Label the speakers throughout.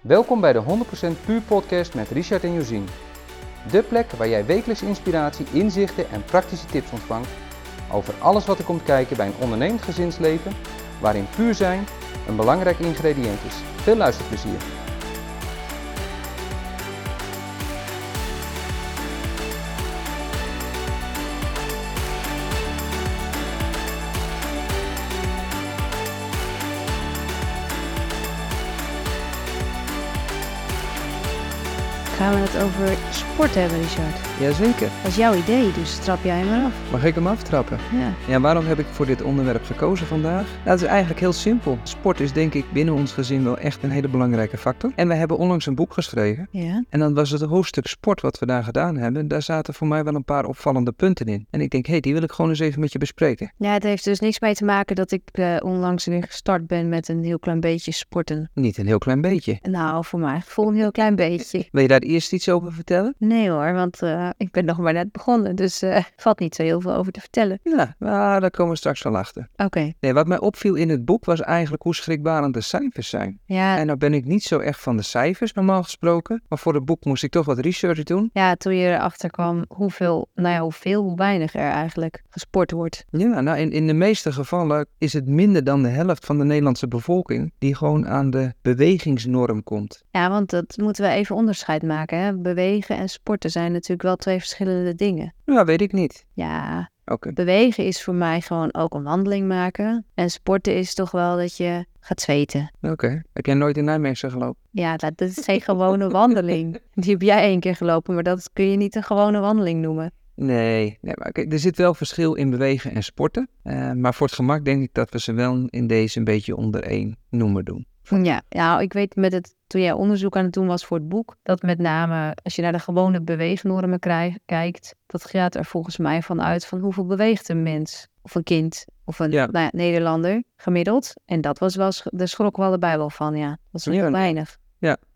Speaker 1: Welkom bij de 100% Puur Podcast met Richard en Josien. De plek waar jij wekelijks inspiratie, inzichten en praktische tips ontvangt over alles wat er komt kijken bij een ondernemend gezinsleven, waarin puur zijn een belangrijk ingrediënt is. Veel luisterplezier!
Speaker 2: Gaan we het over sport hebben, Richard?
Speaker 1: Jazeker,
Speaker 2: Dat is jouw idee, dus trap jij maar af.
Speaker 1: mag ik hem aftrappen?
Speaker 2: Ja.
Speaker 1: Ja, waarom heb ik voor dit onderwerp gekozen vandaag? Nou, dat is eigenlijk heel simpel. Sport is denk ik binnen ons gezin wel echt een hele belangrijke factor. En we hebben onlangs een boek geschreven
Speaker 2: Ja.
Speaker 1: En dan was het hoofdstuk sport wat we daar gedaan hebben. Daar zaten voor mij wel een paar opvallende punten in. En ik denk, hé, hey, die wil ik gewoon eens even met je bespreken.
Speaker 2: ja, het heeft dus niks mee te maken dat ik eh, onlangs weer gestart ben met een heel klein beetje sporten.
Speaker 1: Niet een heel klein beetje.
Speaker 2: Nou, voor mij gevoel een heel klein beetje.
Speaker 1: Wil je daar eerst iets over vertellen?
Speaker 2: Nee hoor, want eh, ik ben nog maar net begonnen, dus eh valt niet zo heel veel over te vertellen.
Speaker 1: Ja, nou, daar komen we straks wel achter.
Speaker 2: Oké,
Speaker 1: Nee, wat mij opviel in het boek was eigenlijk hoe schrikbarend de cijfers zijn.
Speaker 2: ja,
Speaker 1: En nou ben ik niet zo echt van de cijfers normaal gesproken. Maar voor het boek moest ik toch wat research doen.
Speaker 2: ja, toen je erachter kwam hoeveel, nou ja, hoeveel, hoe weinig er eigenlijk gesport wordt.
Speaker 1: Ja, nou in, in de meeste gevallen is het minder dan de helft van de Nederlandse bevolking die gewoon aan de bewegingsnorm komt.
Speaker 2: Ja, want dat moeten we even onderscheid maken. Hè? Bewegen en sporten zijn natuurlijk wel twee verschillende dingen.
Speaker 1: Nou, weet ik niet.
Speaker 2: Ja,
Speaker 1: Oké.
Speaker 2: Bewegen is voor mij gewoon ook een wandeling maken. En sporten is toch wel dat je gaat zweten.
Speaker 1: Oké. Heb jij nooit in Nijmegen gelopen?
Speaker 2: Ja, dat, dat is geen gewone wandeling. Die heb jij één keer gelopen, maar dat kun je niet een gewone wandeling noemen.
Speaker 1: Nee. nee maar kijk, er zit wel verschil in bewegen en sporten. Eh, maar voor het gemak denk ik dat we ze wel in deze een beetje onder één noemer doen.
Speaker 2: Ja, nou, ik weet met het, toen jij onderzoek aan het doen was voor het boek, dat met name als je naar de gewone beweegnormen krij- kijkt, dat gaat er volgens mij van uit van hoeveel beweegt een mens of een kind of een
Speaker 1: Ja.
Speaker 2: nou ja, Nederlander gemiddeld. En dat was wel, sch- daar schrok wel de Bijbel van, ja. Dat is
Speaker 1: Ja,
Speaker 2: heel
Speaker 1: en-
Speaker 2: weinig.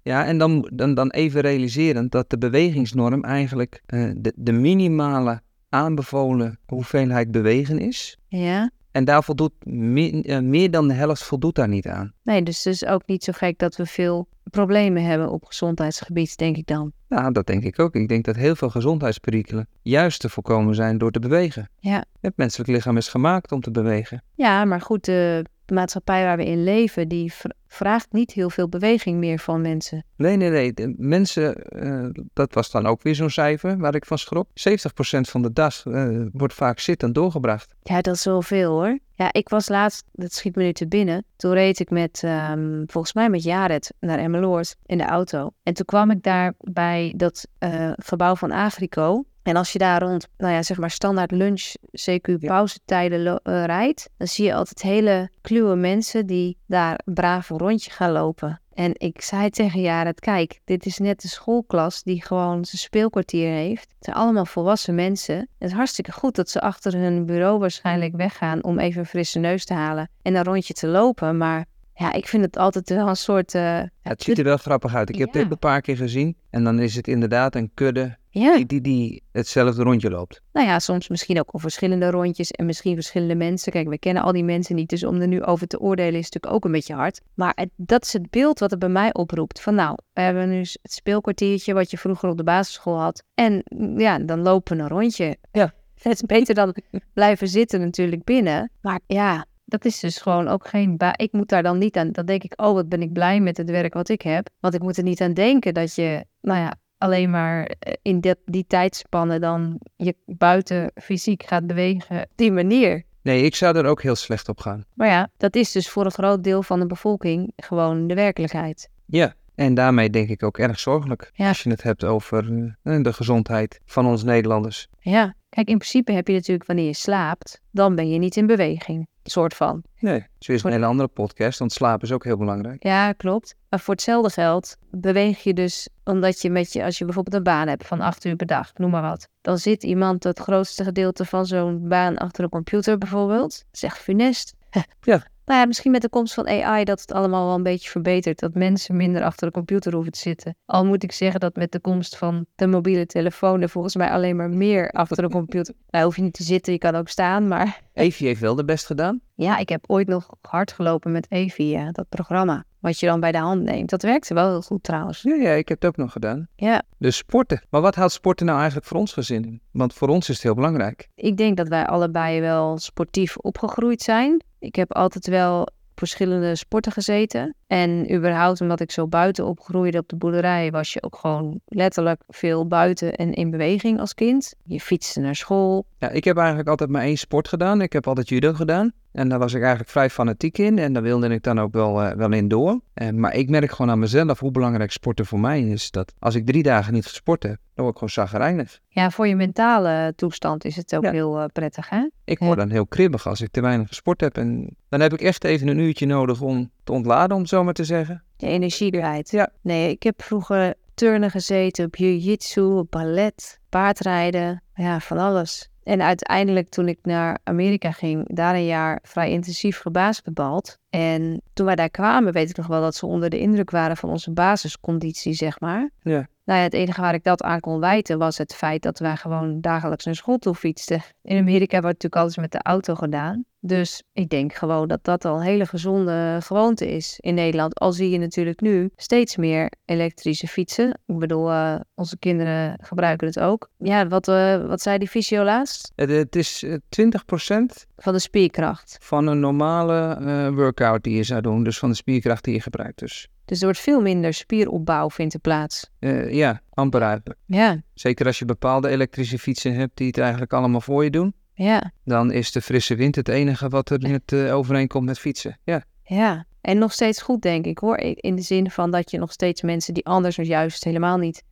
Speaker 1: Ja, en dan, dan, dan even realiserend dat de bewegingsnorm eigenlijk eh, de, de minimale aanbevolen hoeveelheid bewegen is.
Speaker 2: Ja.
Speaker 1: En daar voldoet mi- eh, meer dan de helft voldoet daar niet aan.
Speaker 2: Nee, dus het is ook niet zo gek dat we veel problemen hebben op gezondheidsgebied, denk ik dan.
Speaker 1: Nou, dat denk ik ook. Ik denk dat heel veel gezondheidsperikelen juist te voorkomen zijn door te bewegen.
Speaker 2: Ja.
Speaker 1: Het menselijk lichaam is gemaakt om te bewegen.
Speaker 2: Ja, maar goed, de maatschappij waar we in leven, die vra- vraagt niet heel veel beweging meer van mensen.
Speaker 1: Nee, nee, nee. De mensen, eh, dat was dan ook weer zo'n cijfer waar ik van schrok. 70% van de dag eh, wordt vaak zittend doorgebracht.
Speaker 2: Ja, dat is wel veel hoor. Ja, ik was laatst, dat schiet me nu te binnen, toen reed ik met, ehm, volgens mij met Jared naar Emmeloord in de auto. En toen kwam ik daar bij dat eh, gebouw van Agrico. En als je daar rond, nou ja, zeg maar standaard lunch, CQ pauzetijden lo- eh, rijdt, dan zie je altijd hele kluwe mensen die daar braaf een rondje gaan lopen. En ik zei tegen Jared, kijk, dit is net de schoolklas die gewoon zijn speelkwartier heeft. Het zijn allemaal volwassen mensen. Het is hartstikke goed dat ze achter hun bureau waarschijnlijk weggaan om even een frisse neus te halen en een rondje te lopen. Maar ja, ik vind het altijd wel een soort... eh,
Speaker 1: Ja, het ziet er wel grappig uit. Ik heb
Speaker 2: Ja.
Speaker 1: dit een paar keer gezien. En dan is het inderdaad een kudde
Speaker 2: ja,
Speaker 1: die, die, die hetzelfde rondje loopt.
Speaker 2: Nou ja, soms misschien ook al verschillende rondjes en misschien verschillende mensen. Kijk, we kennen al die mensen niet, dus om er nu over te oordelen is natuurlijk ook een beetje hard. Maar het- dat is het beeld wat het bij mij oproept. Van nou, we hebben nu s- het speelkwartiertje wat je vroeger op de basisschool had. En mm, ja, dan lopen we een rondje.
Speaker 1: Ja.
Speaker 2: Het is beter dan blijven zitten natuurlijk binnen. Maar ja, dat is dus gewoon ook geen... Ba- ik moet daar dan niet aan... Dan denk ik, oh, wat ben ik blij met het werk wat ik heb. Want ik moet er niet aan denken dat je, nou ja, alleen maar eh, in dat, die tijdspanne dan je buiten fysiek gaat bewegen. op Die manier.
Speaker 1: Nee, ik zou er ook heel slecht op gaan.
Speaker 2: Maar ja, dat is dus voor een groot deel van de bevolking gewoon de werkelijkheid.
Speaker 1: Ja. En daarmee denk ik ook erg zorgelijk.
Speaker 2: Ja.
Speaker 1: Als je het hebt over eh, de gezondheid van ons Nederlanders.
Speaker 2: Ja, kijk, in principe heb je natuurlijk wanneer je slaapt, dan ben je niet in beweging. Soort van.
Speaker 1: Nee. Zo is een
Speaker 2: Goed.
Speaker 1: hele andere podcast, want slaap is ook heel belangrijk.
Speaker 2: Ja, klopt. Maar voor hetzelfde geld beweeg je dus omdat je met je, als je bijvoorbeeld een baan hebt van acht uur per dag, noem maar wat. Dan zit iemand het grootste gedeelte van zo'n baan achter een computer bijvoorbeeld. Dat is echt funest.
Speaker 1: Ja.
Speaker 2: Nou ja, misschien met de komst van AI dat het allemaal wel een beetje verbetert. Dat mensen minder achter de computer hoeven te zitten. Al moet ik zeggen dat met de komst van de mobiele telefoon er volgens mij alleen maar meer achter de computer. nou, hoef je niet te zitten, je kan ook staan. Maar
Speaker 1: Evie heeft wel de best gedaan.
Speaker 2: ja, ik heb ooit nog hard gelopen met Evi, ja, dat programma. Wat je dan bij de hand neemt. Dat werkte wel heel goed trouwens.
Speaker 1: Ja, ja, ik heb het ook nog gedaan.
Speaker 2: Ja,
Speaker 1: Dus sporten. Maar wat houdt sporten nou eigenlijk voor ons gezin in? Want voor ons is het heel belangrijk.
Speaker 2: ik denk dat wij allebei wel sportief opgegroeid zijn. Ik heb altijd wel op verschillende sporten gezeten. En überhaupt, omdat ik zo buiten opgroeide op de boerderij, was je ook gewoon letterlijk veel buiten en in beweging als kind. Je fietste naar school.
Speaker 1: Ja, ik heb eigenlijk altijd maar één sport gedaan. Ik heb altijd judo gedaan. En daar was ik eigenlijk vrij fanatiek in. En daar wilde ik dan ook wel, eh, wel in door. Eh, maar ik merk gewoon aan mezelf hoe belangrijk sporten voor mij is. Dat als ik drie dagen niet gesport heb, dan word ik gewoon zagrijnig.
Speaker 2: Ja, voor je mentale toestand is het ook
Speaker 1: Ja.
Speaker 2: heel eh, prettig, hè?
Speaker 1: Ik
Speaker 2: Ja.
Speaker 1: word dan heel kribbig als ik te weinig gesport heb. En dan heb ik echt even een uurtje nodig om te ontladen, om het zo maar te zeggen.
Speaker 2: Je energie kwijt.
Speaker 1: Ja.
Speaker 2: Nee, ik heb vroeger turnen gezeten, op jiu-jitsu, op ballet, paardrijden, ja, van alles. En uiteindelijk toen ik naar Amerika ging, daar een jaar vrij intensief gebasketbald. En toen wij daar kwamen, weet ik nog wel dat ze onder de indruk waren van onze basisconditie, zeg maar.
Speaker 1: Ja.
Speaker 2: Nou ja, het enige waar ik dat aan kon wijten was het feit dat wij gewoon dagelijks naar school toe fietsten. In Amerika wordt natuurlijk alles met de auto gedaan. Dus ik denk gewoon dat dat al een hele gezonde eh, gewoonte is in Nederland. Al zie je natuurlijk nu steeds meer elektrische fietsen. Ik bedoel, eh, onze kinderen gebruiken het ook. Ja, wat, eh, wat zei die fysio laatst?
Speaker 1: Het, het is eh, 20%
Speaker 2: Van de spierkracht.
Speaker 1: van een normale eh, workout die je zou doen. Dus van de spierkracht die je gebruikt. Dus
Speaker 2: Dus er wordt veel minder spieropbouw vindt er plaats.
Speaker 1: eh, ja, amper eigenlijk.
Speaker 2: Ja,
Speaker 1: Zeker als je bepaalde elektrische fietsen hebt die het eigenlijk allemaal voor je doen.
Speaker 2: ja,
Speaker 1: Dan is de frisse wind het enige wat er net eh, overeenkomt met fietsen. Ja,
Speaker 2: ja. En nog steeds goed, denk ik hoor. I- In de zin van dat je nog steeds mensen die anders of juist dus helemaal niet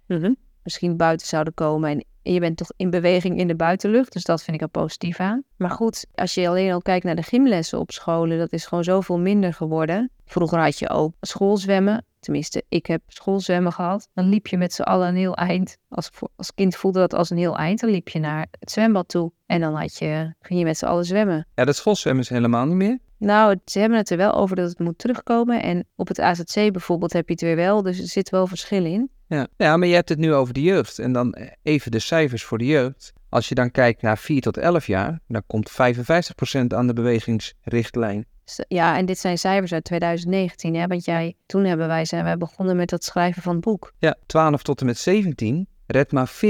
Speaker 2: misschien buiten zouden komen. En je bent toch in beweging in de buitenlucht. Dus dat vind ik al positief aan. Maar goed, als je alleen al kijkt naar de gymlessen op scholen, dat is gewoon zoveel minder geworden. Vroeger had je ook schoolzwemmen. Tenminste, ik heb schoolzwemmen gehad. Dan liep je met z'n allen een heel eind. Als, vo- als kind voelde dat als een heel eind. Dan liep je naar het zwembad toe. En dan had je, ging je met z'n allen zwemmen.
Speaker 1: ja dat schoolzwemmen is helemaal niet meer.
Speaker 2: Nou, het- ze hebben het er wel over dat het moet terugkomen. En op het AZC bijvoorbeeld heb je het weer wel. Dus er zit wel verschil in.
Speaker 1: Ja. ja, maar je hebt het nu over de jeugd. En dan eh, even de cijfers voor de jeugd. Als je dan kijkt naar 4 tot 11 jaar, dan komt 55% aan de bewegingsrichtlijn.
Speaker 2: S- Ja, en dit zijn cijfers uit 2019, hè? want jij, toen hebben wij, zijn wij begonnen met het schrijven van het boek.
Speaker 1: Ja, 12 tot en met 17 redt maar 40%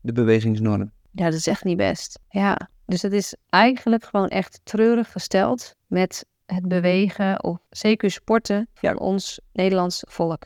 Speaker 1: de bewegingsnorm.
Speaker 2: Ja, dat is echt niet best. Ja, dus het is eigenlijk gewoon echt treurig gesteld met het bewegen of zeker sporten van
Speaker 1: Ja.
Speaker 2: ons Nederlands volk.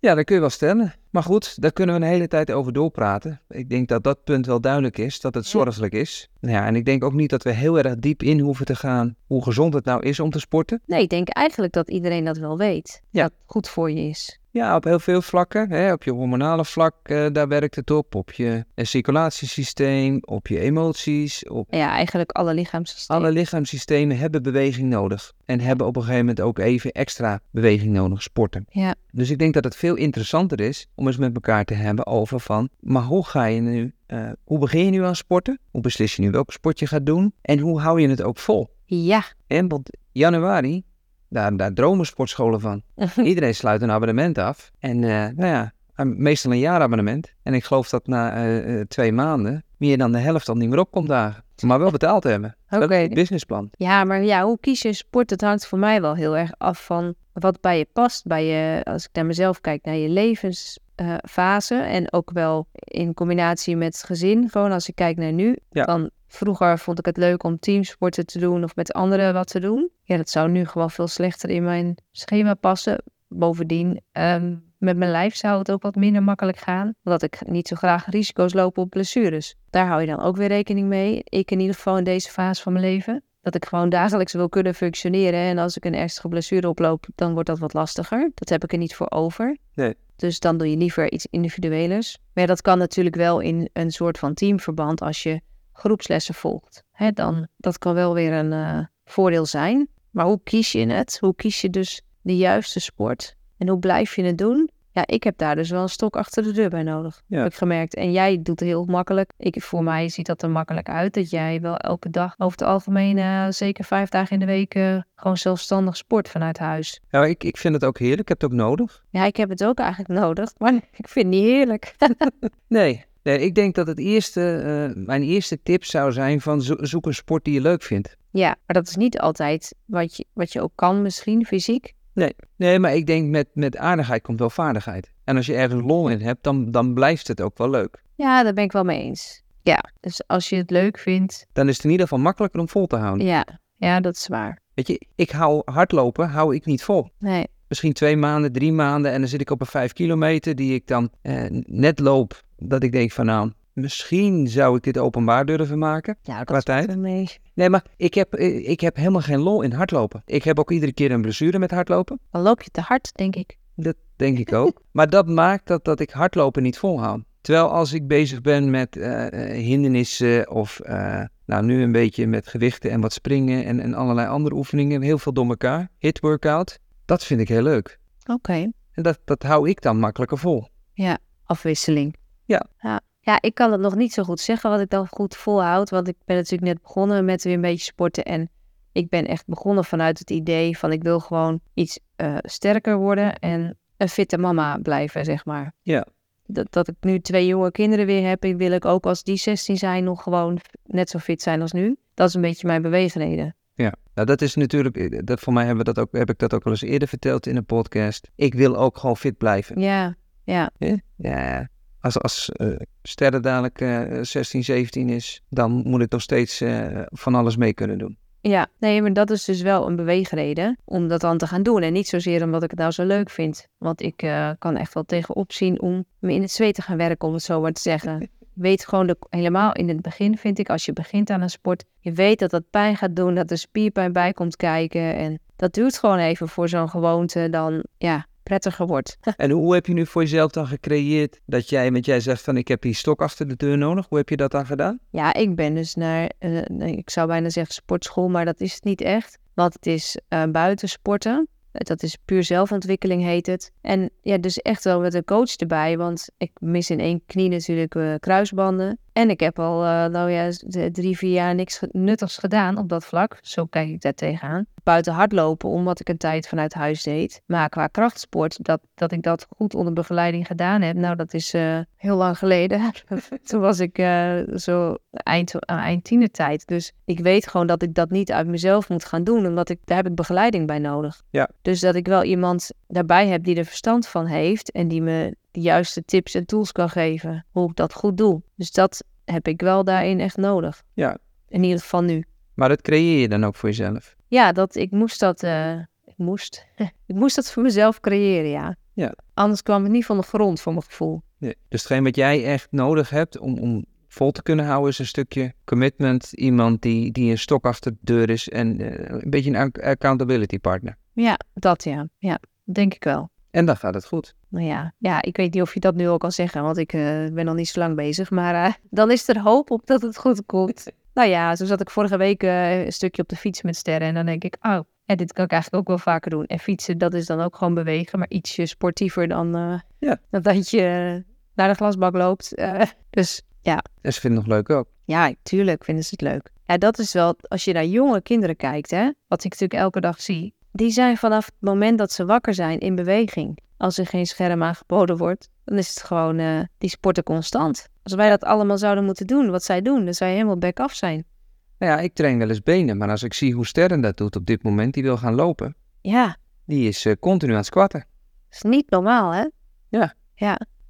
Speaker 1: Ja, dat kun je wel stellen. Maar goed, daar kunnen we een hele tijd over doorpraten. Ik denk dat dat punt wel duidelijk is, dat het
Speaker 2: Ja.
Speaker 1: zorgelijk is. Nou ja, en ik denk ook niet dat we heel erg diep in hoeven te gaan hoe gezond het nou is om te sporten.
Speaker 2: Nee, ik denk eigenlijk dat iedereen dat wel weet.
Speaker 1: Ja.
Speaker 2: Dat het goed voor je is.
Speaker 1: Ja, op heel veel vlakken. Hè. Op je hormonale vlak, eh, daar werkt het op. Op je eh, circulatiesysteem, op je emoties, op...
Speaker 2: Ja, eigenlijk alle lichaamssystemen.
Speaker 1: Alle lichaamssystemen hebben beweging nodig. En hebben op een gegeven moment ook even extra beweging nodig, sporten.
Speaker 2: Ja.
Speaker 1: Dus ik denk dat het veel interessanter is om eens met elkaar te hebben over van, maar hoe ga je nu, eh, hoe begin je nu aan sporten? Hoe beslis je nu welk sport je gaat doen? En hoe hou je het ook vol?
Speaker 2: Ja.
Speaker 1: En want januari, daar, daar dromen sportscholen van. Iedereen sluit een abonnement af. En eh, nou ja, een- meestal een jaarabonnement. En ik geloof dat na eh, eh, twee maanden meer dan de helft al niet meer op komt dagen. Maar wel betaald hebben.
Speaker 2: Oké.
Speaker 1: Dat is het businessplan.
Speaker 2: Ja, maar ja, hoe kies je een sport? Dat hangt voor mij wel heel erg af van wat bij je past. Bij je, als ik naar mezelf kijk, naar je levensfase. en ook wel in combinatie met het gezin. Gewoon als ik kijk naar nu.
Speaker 1: Ja.
Speaker 2: Dan vroeger vond ik het leuk om teamsporten te doen of met anderen wat te doen. Ja, dat zou nu gewoon veel slechter in mijn schema passen. Bovendien, ehm, met mijn lijf zou het ook wat minder makkelijk gaan. Omdat ik niet zo graag risico's loop op blessures. Daar hou je dan ook weer rekening mee. Ik in ieder geval in deze fase van mijn leven. Dat ik gewoon dagelijks wil kunnen functioneren. En als ik een ernstige blessure oploop, dan wordt dat wat lastiger. Dat heb ik er niet voor over.
Speaker 1: Nee.
Speaker 2: Dus dan doe je liever iets individuelers. Maar ja, dat kan natuurlijk wel in een soort van teamverband als je groepslessen volgt. Hè, dan, dat kan wel weer een eh, voordeel zijn. Maar hoe kies je het? Hoe kies je dus de juiste sport? En hoe blijf je het doen? Ja, Ja, ik heb daar dus wel een stok achter de deur bij nodig,
Speaker 1: Ja.
Speaker 2: heb ik gemerkt. En jij doet heel makkelijk. Ik, voor mij ziet dat er makkelijk uit dat jij wel elke dag over het algemeen eh, zeker vijf dagen in de week eh, gewoon zelfstandig sport vanuit huis.
Speaker 1: Ja, Nou, ik, ik vind het ook heerlijk. Ik heb het ook nodig.
Speaker 2: Ja, ik heb het ook eigenlijk nodig, maar ik vind het niet heerlijk.
Speaker 1: Nee, nee ik denk dat het eerste, eh, mijn eerste tip zou zijn van zo- zoek een sport die je leuk vindt.
Speaker 2: ja, maar dat is niet altijd wat je, wat je ook kan misschien, fysiek.
Speaker 1: Nee, maar ik denk met, met aardigheid komt wel vaardigheid. En als je ergens lol in hebt, dan, dan blijft het ook wel leuk.
Speaker 2: Ja, daar ben ik wel mee eens. Ja, dus als je het leuk vindt,
Speaker 1: Dan is het in ieder geval makkelijker om vol te houden.
Speaker 2: ja, ja dat is waar.
Speaker 1: Weet je, ik hou hardlopen, hou ik niet vol.
Speaker 2: Nee,
Speaker 1: Misschien twee maanden, drie maanden en dan zit ik op een vijf kilometer die ik dan eh, net loop. Dat ik denk van nou, misschien zou ik dit openbaar durven maken.
Speaker 2: ja,
Speaker 1: Qua
Speaker 2: dat
Speaker 1: tijd?
Speaker 2: is mee.
Speaker 1: Nee, maar ik heb, eh, ik heb helemaal geen lol in hardlopen. Ik heb ook iedere keer een blessure met hardlopen.
Speaker 2: Dan loop je te hard, denk ik.
Speaker 1: Dat denk ik ook. maar dat maakt dat, dat ik hardlopen niet volhoud. Terwijl als ik bezig ben met eh, eh, hindernissen of eh, nou nu een beetje met gewichten en wat springen en, en allerlei andere oefeningen, heel veel door elkaar, hit workout, dat vind ik heel leuk.
Speaker 2: Oké.
Speaker 1: En dat, dat hou ik dan makkelijker vol.
Speaker 2: Afwisseling.
Speaker 1: Ja.
Speaker 2: ja. Ja, ik kan het nog niet zo goed zeggen wat ik dan goed volhoud. Want ik ben natuurlijk net begonnen met weer een beetje sporten. En ik ben echt begonnen vanuit het idee van ik wil gewoon iets eh, sterker worden. En een fitte mama blijven, zeg maar.
Speaker 1: Ja.
Speaker 2: Dat, dat ik nu twee jonge kinderen weer heb. Ik wil ik ook als die 16 zijn nog gewoon net zo fit zijn als nu. Dat is een beetje mijn beweegreden.
Speaker 1: Ja, nou dat is natuurlijk, eh, dat, voor mij hebben we dat ook, heb ik dat ook al eens eerder verteld in een podcast. Ik wil ook gewoon fit blijven.
Speaker 2: Ja.
Speaker 1: Ja, als, als eh Sterre dadelijk eh, 16, 17 is, dan moet ik nog steeds eh, van alles mee kunnen doen.
Speaker 2: Ja, nee, maar dat is dus wel een beweegreden om dat dan te gaan doen. En niet zozeer omdat ik het nou zo leuk vind. Want ik eh, kan echt wel tegenop zien om me in het zweet te gaan werken, om het zo maar te zeggen. Weet gewoon de, helemaal in het begin, vind ik, als je begint aan een sport, je weet dat dat pijn gaat doen, dat er spierpijn bij komt kijken. En dat duurt gewoon even voor zo'n gewoonte dan, ja, prettiger wordt.
Speaker 1: En hoe heb je nu voor jezelf dan gecreëerd dat jij, want jij zegt van ik heb die stok achter de deur nodig. Hoe heb je dat dan gedaan?
Speaker 2: Ja, ik ben dus naar, eh, nee, ik zou bijna zeggen sportschool, maar dat is het niet echt. Want het is eh buiten sporten. Dat is puur zelfontwikkeling heet het. En ja, dus echt wel met een coach erbij. Want ik mis in één knie natuurlijk eh, kruisbanden. En ik heb al, eh, nou ja, s- de- drie, vier jaar niks ge- nuttigs gedaan op dat vlak. Zo kijk ik daar tegenaan. Buiten hardlopen, omdat ik een tijd vanuit huis deed. Maar qua krachtsport, dat, dat ik dat goed onder begeleiding gedaan heb. Nou, dat is eh, heel lang geleden. Toen was ik eh, zo eind, aan eind tienertijd. Dus ik weet gewoon dat ik dat niet uit mezelf moet gaan doen. Omdat ik, daar heb ik begeleiding bij nodig.
Speaker 1: Ja.
Speaker 2: Dus dat ik wel iemand daarbij heb die er verstand van heeft. En die me de juiste tips en tools kan geven. Hoe ik dat goed doe. Dus dat heb ik wel daarin echt nodig.
Speaker 1: Ja.
Speaker 2: In ieder geval nu.
Speaker 1: Maar dat creëer je dan ook voor jezelf.
Speaker 2: Ja, dat, ik moest dat... eh, ik moest. ik moest dat voor mezelf creëren, ja.
Speaker 1: Ja.
Speaker 2: Anders kwam het niet van de grond, voor mijn gevoel.
Speaker 1: Nee. Dus hetgeen wat jij echt nodig hebt om, om vol te kunnen houden is een stukje commitment. Iemand die, die een stok achter de deur is en eh, een beetje een ac- accountability partner.
Speaker 2: Ja, dat ja. Ja, denk ik wel.
Speaker 1: En dan gaat het goed.
Speaker 2: Nou ja, ja, ik weet niet of je dat nu al kan zeggen, want ik eh, ben nog niet zo lang bezig. Maar eh, dan is er hoop op dat het goed komt. Nou ja, zo zat ik vorige week eh, een stukje op de fiets met sterren. En dan denk ik, oh, en dit kan ik eigenlijk ook wel vaker doen. En fietsen, dat is dan ook gewoon bewegen, maar ietsje sportiever dan, eh,
Speaker 1: Ja.
Speaker 2: dan dat je eh, naar de glasbak loopt. Eh, dus ja,
Speaker 1: En ze vinden het nog leuk ook.
Speaker 2: ja, tuurlijk vinden ze het leuk. Ja, dat is wel, als je naar jonge kinderen kijkt, hè, wat ik natuurlijk elke dag zie. Die zijn vanaf het moment dat ze wakker zijn in beweging. Als er geen scherm aangeboden wordt, dan is het gewoon, eh, die sporten constant. Als wij dat allemaal zouden moeten doen, wat zij doen, dan zou je helemaal back-off zijn.
Speaker 1: Nou ja, ik train wel eens benen, maar als ik zie hoe Sterren dat doet op dit moment, die wil gaan lopen,
Speaker 2: Ja,
Speaker 1: die is eh, continu aan het squatten.
Speaker 2: is niet normaal, hè?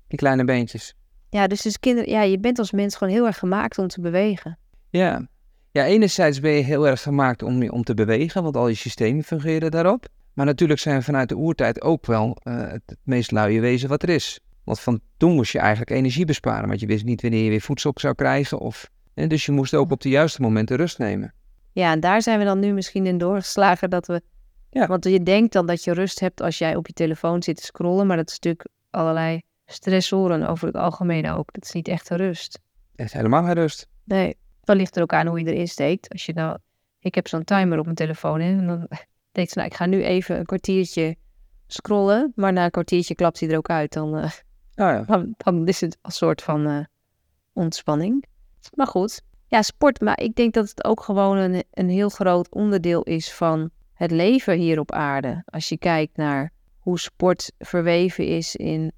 Speaker 1: Die kleine beentjes.
Speaker 2: Ja, dus, dus kinderen, ja, je bent als mens gewoon heel erg gemaakt om te bewegen.
Speaker 1: Ja. Ja, enerzijds ben je heel erg gemaakt om, je- om te bewegen, want al je systemen fungeren daarop. Maar natuurlijk zijn we vanuit de oertijd ook wel eh, het, het meest luie wezen wat er is. Want van toen moest je eigenlijk energie besparen, want je wist niet wanneer je weer voedsel zou krijgen. Of, en dus je moest ook op de juiste momenten rust nemen.
Speaker 2: Ja, en daar zijn we dan nu misschien in doorgeslagen dat we.
Speaker 1: Ja.
Speaker 2: Want je denkt dan dat je rust hebt als jij op je telefoon zit te scrollen, maar dat is natuurlijk allerlei stressoren over het algemeen ook. Dat is niet echt rust.
Speaker 1: Er is helemaal geen rust.
Speaker 2: Nee. Dat ligt er ook aan hoe je erin steekt. Als je nou, ik heb zo'n timer op mijn telefoon hè, en dan denk je, nou, ik ga nu even een kwartiertje scrollen, maar na een kwartiertje klapt hij er ook uit. Dan, eh,
Speaker 1: Nou ja.
Speaker 2: dan, dan is het een soort van eh, ontspanning. Maar goed, ja, sport. Maar ik denk dat het ook gewoon een, een heel groot onderdeel is van het leven hier op aarde. Als je kijkt naar hoe sport verweven is in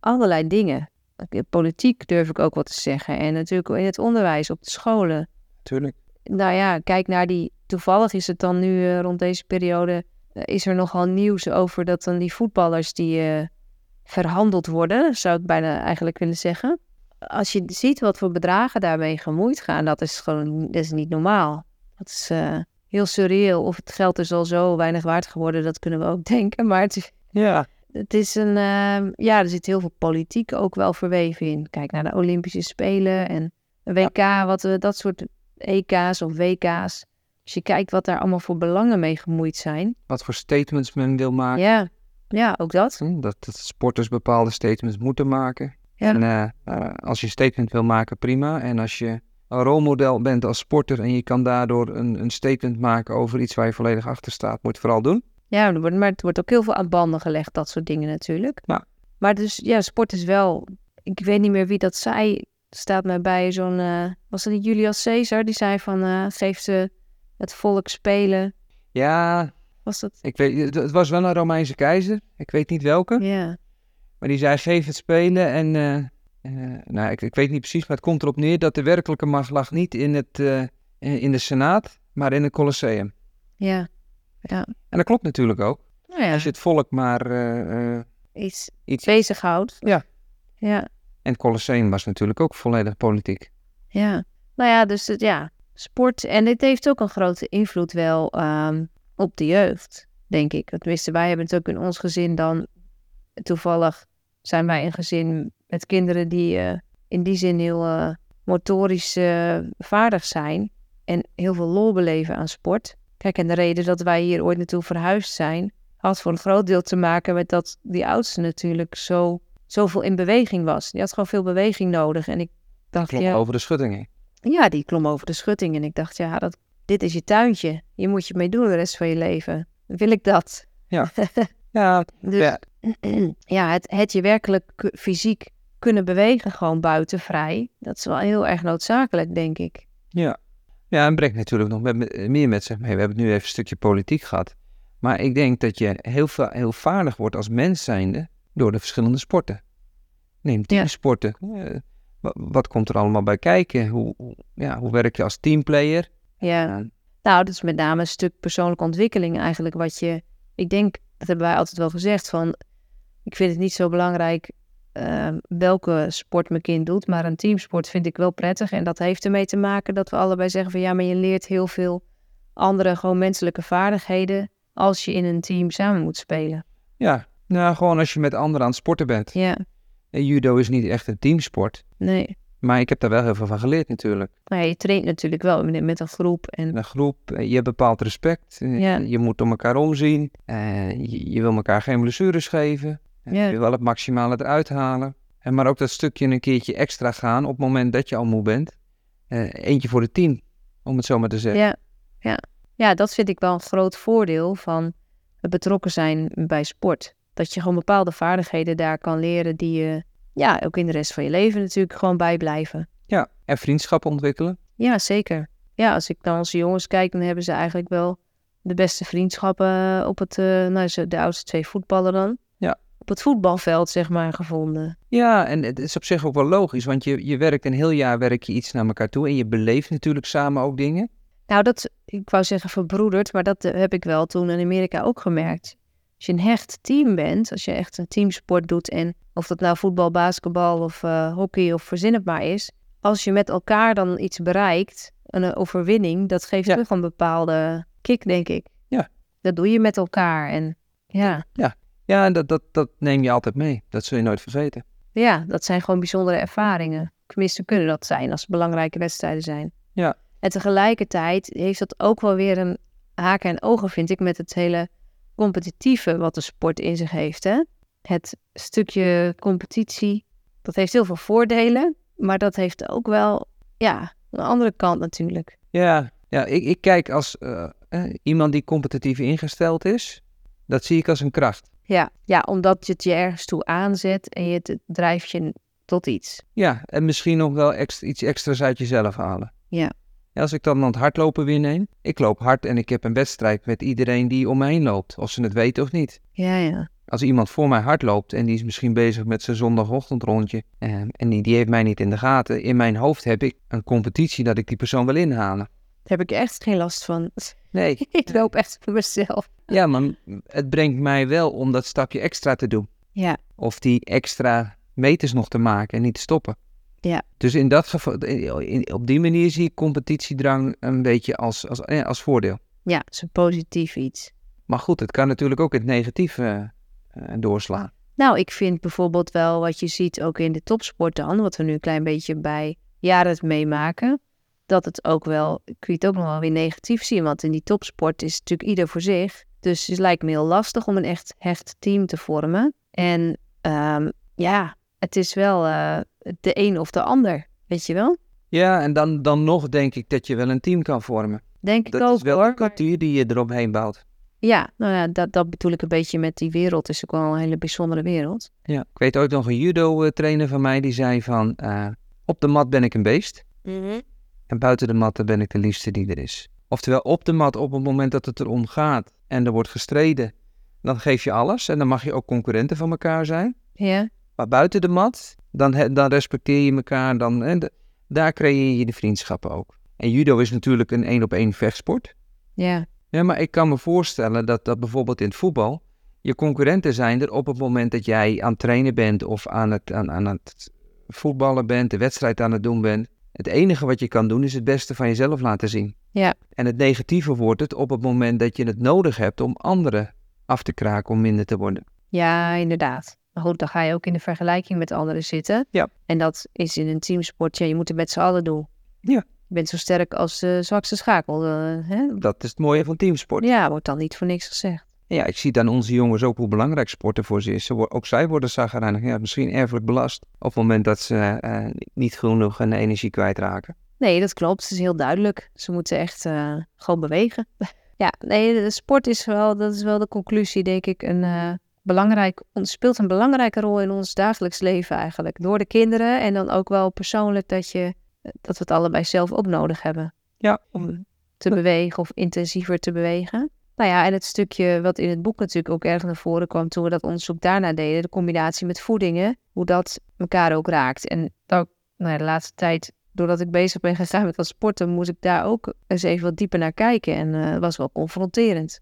Speaker 2: allerlei dingen. In Politiek durf ik ook wat te zeggen. En natuurlijk in het onderwijs, op de scholen.
Speaker 1: Tuurlijk.
Speaker 2: Nou ja, kijk naar die. Toevallig is het dan nu eh, rond deze periode. eh, is er nogal nieuws over dat dan die voetballers die eh, verhandeld worden, zou ik bijna eigenlijk willen zeggen. Als je ziet wat voor bedragen daarmee gemoeid gaan, dat is gewoon dat is niet normaal. Dat is eh, heel surreal. Of het geld is al zo weinig waard geworden, dat kunnen we ook denken. Maar het is,
Speaker 1: Ja.
Speaker 2: het is een. eh, ja, er zit heel veel politiek ook wel verweven in. Kijk naar de Olympische Spelen en een WK, wat, we dat soort EK's of WK's. Als je kijkt wat daar allemaal voor belangen mee gemoeid zijn.
Speaker 1: Wat voor statements men wil maken.
Speaker 2: Ja, ja ook dat.
Speaker 1: Hm, Dat, dat sporters bepaalde statements moeten maken.
Speaker 2: Ja.
Speaker 1: En eh, eh, als je een statement wil maken, prima. En als je een rolmodel bent als sporter en je kan daardoor een, een statement maken over iets waar je volledig achter staat, moet je vooral doen.
Speaker 2: Ja, er wordt- maar het wordt ook heel veel aan banden gelegd, dat soort dingen natuurlijk.
Speaker 1: Ja.
Speaker 2: Maar dus, ja, sport is wel... Ik weet niet meer wie dat zei. Staat mij bij zo'n... eh, was dat niet Julius Caesar? Die zei van, eh, geef ze het volk spelen.
Speaker 1: Ja,
Speaker 2: Was dat...
Speaker 1: ik weet, het- het was wel een Romeinse keizer. Ik weet niet welke.
Speaker 2: Ja.
Speaker 1: Maar die zei: geef het spelen. En eh, eh, nou, ik, ik weet niet precies, maar het komt erop neer dat de werkelijke macht lag niet in, het, eh, eh, in de Senaat, maar in het Colosseum.
Speaker 2: Ja.
Speaker 1: En dat klopt natuurlijk ook.
Speaker 2: Nou ja,
Speaker 1: Als je het volk maar. eh, eh,
Speaker 2: iets,
Speaker 1: iets-
Speaker 2: bezighoudt.
Speaker 1: Ja.
Speaker 2: Ja,
Speaker 1: en het Colosseum was natuurlijk ook volledig politiek.
Speaker 2: ja. Nou ja, dus het, ja, sport. En dit heeft ook een grote invloed wel ehm, op de jeugd, denk ik. Tenminste, wij hebben het ook in ons gezin dan. Toevallig zijn wij een gezin met kinderen die eh, in die zin heel eh, motorisch eh, vaardig zijn. En heel veel lol beleven aan sport. Kijk, en de reden dat wij hier ooit naartoe verhuisd zijn, had voor een groot deel te maken met dat die oudste natuurlijk zo, zoveel in beweging was. Die had gewoon veel beweging nodig. En ik dacht,
Speaker 1: Klopt,
Speaker 2: ja,
Speaker 1: over de schuttingen.
Speaker 2: ja, die klom over de schutting. En ik dacht, ja, dat, dit is je tuintje. Hier moet je mee doen de rest van je leven. Wil ik dat?
Speaker 1: Ja,
Speaker 2: Dus
Speaker 1: Ja.
Speaker 2: ja, het, het je werkelijk ku- fysiek kunnen bewegen, gewoon buiten vrij. Dat is wel heel erg noodzakelijk, denk ik.
Speaker 1: ja, en brengt natuurlijk nog met- met- meer met zich mee. We hebben het nu even een stukje politiek gehad. Maar ik denk dat je heel, va- heel vaardig wordt als mens zijnde door de verschillende sporten. Neem teamsporten. Eh, wa- wat komt er allemaal bij kijken? Hoe, hoe- ja, hoe werk je als teamplayer?
Speaker 2: Ja.
Speaker 1: Ja.
Speaker 2: Nou, dat is met name een stuk persoonlijke ontwikkeling eigenlijk. Wat je, ik denk, dat hebben wij altijd wel gezegd, van ik vind het niet zo belangrijk ehm, welke sport mijn kind doet, maar een teamsport vind ik wel prettig. En dat heeft ermee te maken dat we allebei zeggen van ja, maar je leert heel veel andere gewoon menselijke vaardigheden als je in een team samen moet spelen.
Speaker 1: Ja, nou, gewoon als je met anderen aan het sporten bent.
Speaker 2: Ja,
Speaker 1: Eh, Judo is niet echt een teamsport.
Speaker 2: nee.
Speaker 1: Maar ik heb daar wel heel veel van geleerd natuurlijk.
Speaker 2: Nou ja, je traint natuurlijk wel met- met een groep en
Speaker 1: in een groep. eh, Je hebt bepaald respect. eh,
Speaker 2: Ja.
Speaker 1: Je moet om elkaar omzien. eh, je, je wil elkaar geen blessures geven. eh,
Speaker 2: Ja.
Speaker 1: Je wil wel het maximale eruit halen. En maar ook dat stukje een keertje extra gaan op het moment dat je al moe bent. Eh, eentje voor de tien, om het zo maar te zeggen.
Speaker 2: Ja, ja. ja, dat vind ik wel een groot voordeel van het betrokken zijn bij sport. Dat je gewoon bepaalde vaardigheden daar kan leren die je ja, ook in de rest van je leven natuurlijk gewoon bijblijven.
Speaker 1: Ja, En vriendschappen ontwikkelen.
Speaker 2: Ja, zeker. Ja, als ik naar onze jongens kijk, dan hebben ze eigenlijk wel de beste vriendschappen op het, eh, nou, ze- de oudste twee voetballen dan.
Speaker 1: Ja.
Speaker 2: Op het voetbalveld, zeg maar, gevonden.
Speaker 1: Ja, en het is op zich ook wel logisch. Want je, je werkt een heel jaar werk je iets naar elkaar toe. En je beleeft natuurlijk samen ook dingen.
Speaker 2: Nou, dat, ik wou zeggen verbroederd, maar dat eh, heb ik wel toen in Amerika ook gemerkt. Als je een hecht team bent, als je echt een teamsport doet en of dat nou voetbal, basketbal of eh, hockey of verzin het maar is. Als je met elkaar dan iets bereikt, een eh, overwinning, dat geeft
Speaker 1: Ja.
Speaker 2: terug een bepaalde kick, denk ik.
Speaker 1: Ja.
Speaker 2: Dat doe je met elkaar en ja,
Speaker 1: Ja, en dat, dat, dat neem je altijd mee. Dat zul je nooit vergeten.
Speaker 2: ja, dat zijn gewoon bijzondere ervaringen. Tenminste, kunnen dat zijn als het belangrijke wedstrijden zijn.
Speaker 1: Ja.
Speaker 2: En tegelijkertijd heeft dat ook wel weer een haken en ogen, vind ik, met het hele competitieve wat de sport in zich heeft. Hè? Het stukje competitie, dat heeft heel veel voordelen, maar dat heeft ook wel, ja, een andere kant natuurlijk.
Speaker 1: Ja, ja ik, ik kijk als eh, eh, iemand die competitief ingesteld is, dat zie ik als een kracht.
Speaker 2: Ja. ja, omdat je het je ergens toe aanzet en je het het drijft je tot iets.
Speaker 1: Ja, en misschien nog wel ex- iets extra's uit jezelf halen.
Speaker 2: Ja.
Speaker 1: Ja, Als ik dan aan het hardlopen weer neem, ik loop hard en ik heb een wedstrijd met iedereen die om me heen loopt, of ze het weten of niet.
Speaker 2: Ja, ja.
Speaker 1: Als iemand voor mij hardloopt en die is misschien bezig met zijn zondagochtendrondje eh, en die, die heeft mij niet in de gaten, in mijn hoofd heb ik een competitie dat ik die persoon wil inhalen.
Speaker 2: Daar heb ik echt geen last van.
Speaker 1: Nee,
Speaker 2: ik loop echt voor mezelf.
Speaker 1: ja, maar het brengt mij wel om dat stapje extra te doen.
Speaker 2: Ja.
Speaker 1: Of die extra meters nog te maken en niet te stoppen.
Speaker 2: Ja.
Speaker 1: Dus in dat geval, in- in- op die manier zie ik competitiedrang een beetje als, als, eh, als voordeel.
Speaker 2: Ja, het is een positief iets.
Speaker 1: Maar goed, het kan natuurlijk ook in het negatief eh, eh, doorslaan.
Speaker 2: Nou, ik vind bijvoorbeeld wel wat je ziet ook in de topsport dan, wat we nu een klein beetje bij Jared meemaken, dat het ook wel, ik kun je het ook nog wel weer negatief zien, want in die topsport is natuurlijk ieder voor zich. Dus het lijkt me heel lastig om een echt hecht team te vormen. En ehm, ja, het is wel eh, de een of de ander, weet je wel?
Speaker 1: Ja, en dan, dan nog denk ik dat je wel een team kan vormen.
Speaker 2: Denk ik
Speaker 1: Dat
Speaker 2: ook
Speaker 1: is wel
Speaker 2: hoor.
Speaker 1: een kwartier die je eromheen bouwt.
Speaker 2: Ja, nou ja, dat, dat bedoel ik een beetje met die wereld. Het is ook wel een hele bijzondere wereld.
Speaker 1: Ja. Ik weet ooit nog een judo-trainer van mij die zei van... eh, op de mat ben ik een beest en buiten de mat dan ben ik de liefste die er is. Oftewel, op de mat, op het moment dat het erom gaat en er wordt gestreden... dan geef je alles en dan mag je ook concurrenten van elkaar zijn.
Speaker 2: Ja,
Speaker 1: Maar buiten de mat, dan, he- dan respecteer je elkaar. Dan, hè, d- daar creëer je de vriendschappen ook. En judo is natuurlijk een één-op-één vechtsport...
Speaker 2: ja,
Speaker 1: Ja, maar ik kan me voorstellen dat dat bijvoorbeeld in het voetbal... je concurrenten zijn er op het moment dat jij aan het trainen bent... of aan het, aan, aan het voetballen bent, de wedstrijd aan het doen bent. Het enige wat je kan doen is het beste van jezelf laten zien.
Speaker 2: Ja.
Speaker 1: En het negatieve wordt het op het moment dat je het nodig hebt... om anderen af te kraken om minder te worden.
Speaker 2: ja, inderdaad. Maar goed, dan ga je ook in de vergelijking met anderen zitten.
Speaker 1: Ja.
Speaker 2: En dat is in een teamsport, ja, je moet het met z'n allen doen.
Speaker 1: Ja.
Speaker 2: Je bent zo sterk als de zwakste schakel. eh, hè?
Speaker 1: Dat is het mooie van teamsport.
Speaker 2: Ja, wordt dan niet voor niks gezegd.
Speaker 1: En Ja, ik zie dan onze jongens ook hoe belangrijk sporten voor ze is. Ze wo- ook zij worden zagrijnig, ja, misschien erfelijk belast... op het moment dat ze eh, eh, niet genoeg hun energie kwijtraken.
Speaker 2: Nee, dat klopt. Het is heel duidelijk. Ze moeten echt eh, gewoon bewegen. ja, nee, de sport is wel, dat is wel de conclusie, denk ik, een eh, belangrijk, on- speelt een belangrijke rol in ons dagelijks leven eigenlijk. Door de kinderen en dan ook wel persoonlijk dat, je, eh, dat we het allebei zelf ook nodig hebben.
Speaker 1: Ja,
Speaker 2: om te bewegen of intensiever te bewegen. Nou ja, en het stukje wat in het boek natuurlijk ook erg naar voren kwam toen we dat onderzoek daarna deden, de combinatie met voedingen, hoe dat elkaar ook raakt. En ook nou ja, de laatste tijd, doordat ik bezig ben gegaan met wat sporten, moest ik daar ook eens even wat dieper naar kijken. En eh, het was wel confronterend